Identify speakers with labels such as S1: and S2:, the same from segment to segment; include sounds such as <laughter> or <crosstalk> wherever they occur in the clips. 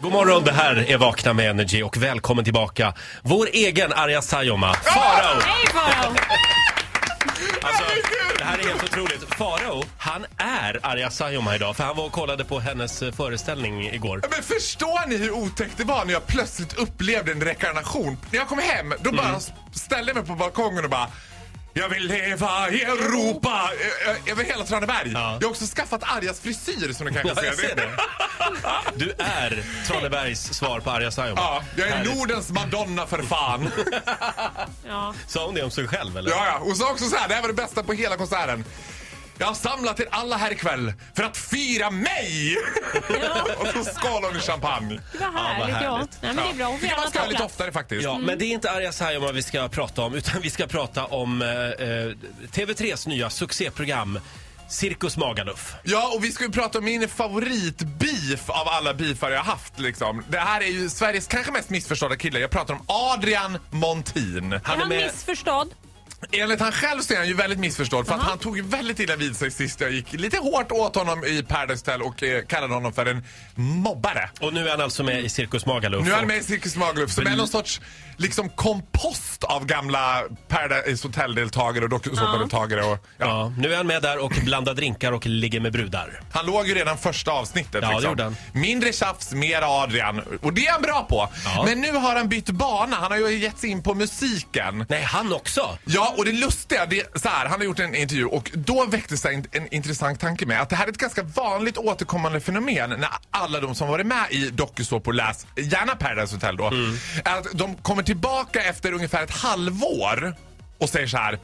S1: God morgon, det här är Vakna med Energy och välkommen tillbaka vår egen Arja Saijonmaa, Farao!
S2: Hej Farao!
S1: Alltså, det här är helt otroligt. Farao, han är Arja Saijonmaa idag för han var och kollade på hennes eh, föreställning igår.
S3: Men förstår ni hur otäckt det var när jag plötsligt upplevde en rekarnation? När jag kom hem, då
S1: Mm.
S3: bara s- ställde jag mig på balkongen och bara jag vill leva i Europa! Ö- ö- Över hela Traneberg.
S1: Ja.
S3: Jag har också skaffat Arjas frisyr som ni kanske
S1: Ja, jag
S3: ser.
S1: ser det. Du är Tranebergs svar på Arja Saijonmaa.
S3: Ja, jag är Nordens Madonna för fan.
S2: Ja.
S1: Sa hon det om sig själv eller?
S3: Ja, ja. Och så också så här, det här var det bästa på hela konserten. Jag har samlat er alla här ikväll för att fira mig! <laughs> och så skålar hon i champagne.
S2: Det var härligt. Ja,
S1: härligt.
S2: Nej, men det är bra. Hon får
S3: tycker man
S2: gärna
S3: ska
S2: ta
S3: ha lite
S2: plats.
S3: oftare faktiskt.
S1: Ja, men det är inte Arja Saijonmaa vi ska prata om utan vi ska prata om eh, eh, TV3s nya succéprogram Cirkus Magaluf.
S3: Ja, och vi ska ju prata om min favoritbeef av alla beefar jag har haft. Liksom. Det här är ju Sveriges kanske mest missförstådda kille. Jag pratar om Adrian Montin.
S2: Är han missförstådd?
S3: Enligt han själv så är han ju väldigt missförstådd för att han tog ju väldigt illa vid sig sist jag gick lite hårt åt honom i Paradise Hotel och eh, kallade honom för en mobbare.
S1: Och nu är han alltså med i Cirkus Magaluf.
S3: Nu är han med i Cirkus Magaluf som är någon sorts liksom, kompost av gamla Paradise Hotel-deltagare och dokusåpadeltagare. och Ja.
S1: Ja, nu är han med där och blandar drinkar och ligger med brudar.
S3: Han låg ju redan första avsnittet.
S1: Ja, det
S3: liksom.
S1: gjorde han.
S3: Mindre tjafs, mer Adrian. Och det är han bra på.
S1: Ja.
S3: Men nu har han bytt bana. Han har ju gett sig in på musiken.
S1: Nej, han också!
S3: Ja, och det lustiga, det är så här, han har gjort en intervju och då väcktes det en, en intressant tanke med att det här är ett ganska vanligt återkommande fenomen när alla de som varit med i dokusåpor, läs gärna Paradise Hotel då, är att de kommer tillbaka efter ungefär ett halvår och säger så här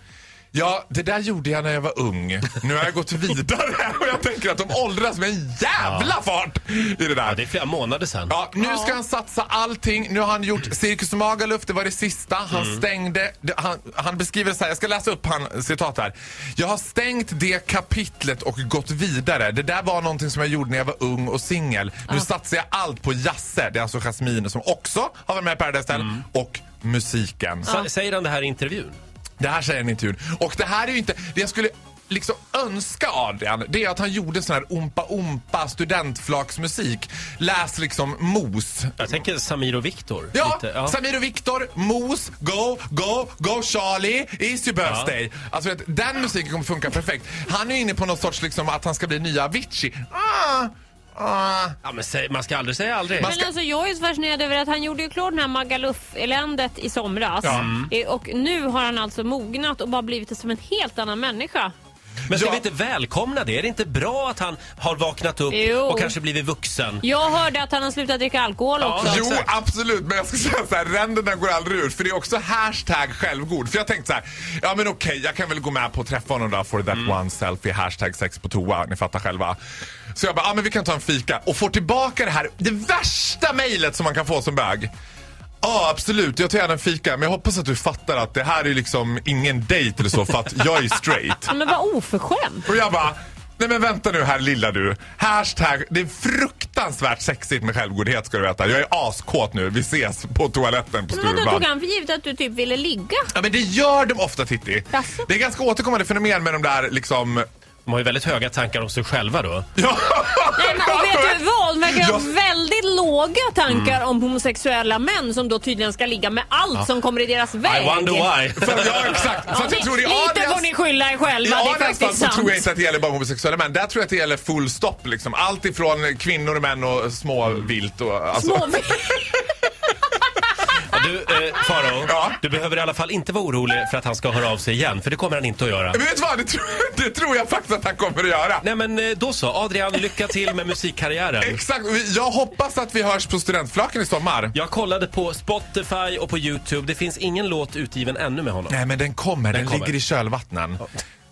S3: Ja, det där gjorde jag när jag var ung. Nu har jag gått vidare <laughs> och jag tänker att de åldras med en jävla fart i det där.
S1: Ja, det är flera månader sedan.
S3: Ja, nu ska han satsa allting. Nu har han gjort Cirkus Magaluf, det var det sista. Han stängde... det- Han, han beskriver det så här, jag ska läsa upp han, citat här. Jag har stängt det kapitlet och gått vidare. Det där var någonting som jag gjorde när jag var ung och singel. Nu satsar jag allt på Jasse, det är alltså Jasmine som också har varit med i Paradise Hotel, och musiken.
S1: Sa- Säger han det här i intervjun?
S3: Det här säger han i intervjun. Och det här är ju inte... Det jag skulle liksom önska Adrian, det är att han gjorde sån här ompa ompa studentflaksmusik. Läs liksom Mos.
S1: Jag tänker Samir och Viktor.
S3: Ja,
S1: Lite, ja.
S3: Samir och Viktor, Mos, Go, Go, Go Charlie, It's your birthday. Alltså vet, den musiken kommer funka perfekt. Han är ju inne på någon sorts liksom att han ska bli nya Avicii. Ah, ah.
S1: ja, men säg, man ska aldrig säga aldrig.
S3: Man-
S2: Men alltså, jag är så fascinerad över att han gjorde ju klart det här Magaluf-eländet i somras.
S3: Ja.
S2: Eh, Och nu har han alltså mognat och bara blivit som en helt annan människa.
S1: Men ska
S3: Ja.
S1: vi inte välkomna det? Är det inte bra att han har vaknat upp
S2: Jo.
S1: och kanske blivit vuxen?
S2: Jag hörde att han har slutat dricka alkohol
S1: Ja.
S2: också.
S3: Jo,
S1: exakt.
S3: absolut. Men jag ska säga så här, ränderna går aldrig ut. För det är också hashtag självgod. För jag tänkte så här, ja men okej, jag kan väl gå med på att träffa honom då for that one selfie, hashtag sex på toa. Ni fattar själva. Så jag bara, ja men vi kan ta en fika. Och får tillbaka det här, det värsta mejlet som man kan få som bög. Ja, absolut. Jag tar gärna en fika. Men jag hoppas att du fattar att det här är liksom ingen dejt eller så, för att jag är straight.
S2: Ja, Men vad oförskämt.
S3: Och jag bara, nej men vänta nu här lilla du. Hashtag, det är fruktansvärt sexigt med självgodhet ska du veta. Jag är askåt nu, vi ses på toaletten på
S2: Men vadå, tog
S3: Stureplan.
S2: han för givet att du typ ville ligga?
S3: Ja men det gör de ofta Titti.
S2: Jaså?
S3: Det är ganska återkommande fenomen med de där liksom... <laughs>
S1: De har ju väldigt höga tankar om sig själva då.
S3: Ja,
S2: Nej, men, och vet du vad? De verkar ha
S3: Jag-
S2: väldigt låga tankar om homosexuella män som då tydligen ska ligga med allt som kommer i deras väg.
S1: I wonder
S3: <laughs>
S1: why.
S3: För att- ja exakt. Så att jag tror i
S2: Lite får
S3: Adrians...
S2: ni skylla er
S3: I
S2: själva, det är
S3: Adrians fall
S2: faktiskt
S3: så
S2: sant.
S3: tror jag inte att det gäller bara homosexuella män. Där tror jag att det gäller full stopp liksom. Allt ifrån kvinnor och män och småvilt och... Alltså.
S2: Små-
S1: Ja, du, eh, Faro,
S3: Ja.
S1: du behöver i alla fall inte vara orolig för att han ska höra av sig igen, för det kommer han inte att göra.
S3: Men vet du vad? Det tror, det tror jag faktiskt att han kommer att göra.
S1: Nej men eh, då så, Adrian, lycka till med musikkarriären.
S3: <laughs> Exakt. Och vi- Jag hoppas att vi hörs på studentflaken i sommar.
S1: Jag kollade på Spotify och på Youtube. Det finns ingen låt utgiven ännu med honom.
S3: Nej, men den kommer. Den,
S1: Den kommer.
S3: ligger i kölvattnen.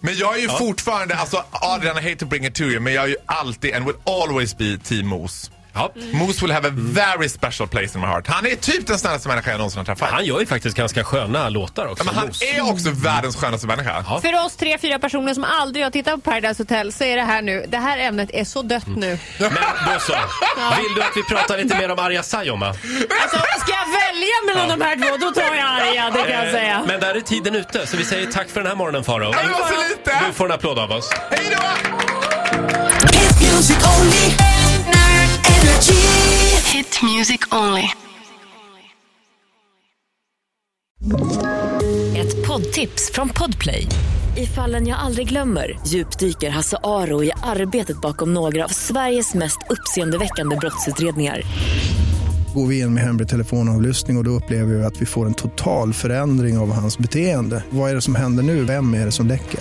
S3: Men jag är ju fortfarande, alltså Adrian, I hate to bring it to you, men jag är ju alltid and will always be team Moose.
S1: Ja.
S3: Moose will have a
S1: Mm.
S3: very special place in my heart. Han är typ den snällaste människa jag någonsin har träffat.
S1: Han gör ju faktiskt ganska sköna låtar också.
S3: Ja, men han
S1: Mos.
S3: är också världens skönaste människa.
S1: Ja.
S2: För oss tre, fyra personer som aldrig har tittat på Paradise Hotel så är det här nu, det här ämnet är så dött
S3: Mm.
S2: nu.
S1: Men då så. Vill du att vi pratar lite mer om Arja Saijonmaa?
S2: Alltså, ska jag välja mellan de här två, då tar jag Arja, det kan
S3: Eh,
S2: jag säga.
S1: Men där är tiden ute, så vi säger tack för den här morgonen Faro.
S3: Ja, det var så
S1: Du
S3: lite!
S1: får en applåd av oss.
S3: Hej då!
S4: Hit music only. Energy. Hit music only.
S5: Ett poddtips från Podplay. I fallen jag aldrig glömmer djupdyker Hasse Aro i arbetet bakom några av Sveriges mest uppseendeväckande brottsutredningar.
S6: Går vi in med hemlig telefonavlyssning och, och då upplever vi att vi får en total förändring av hans beteende. Vad är det som händer nu? Vem är det som läcker?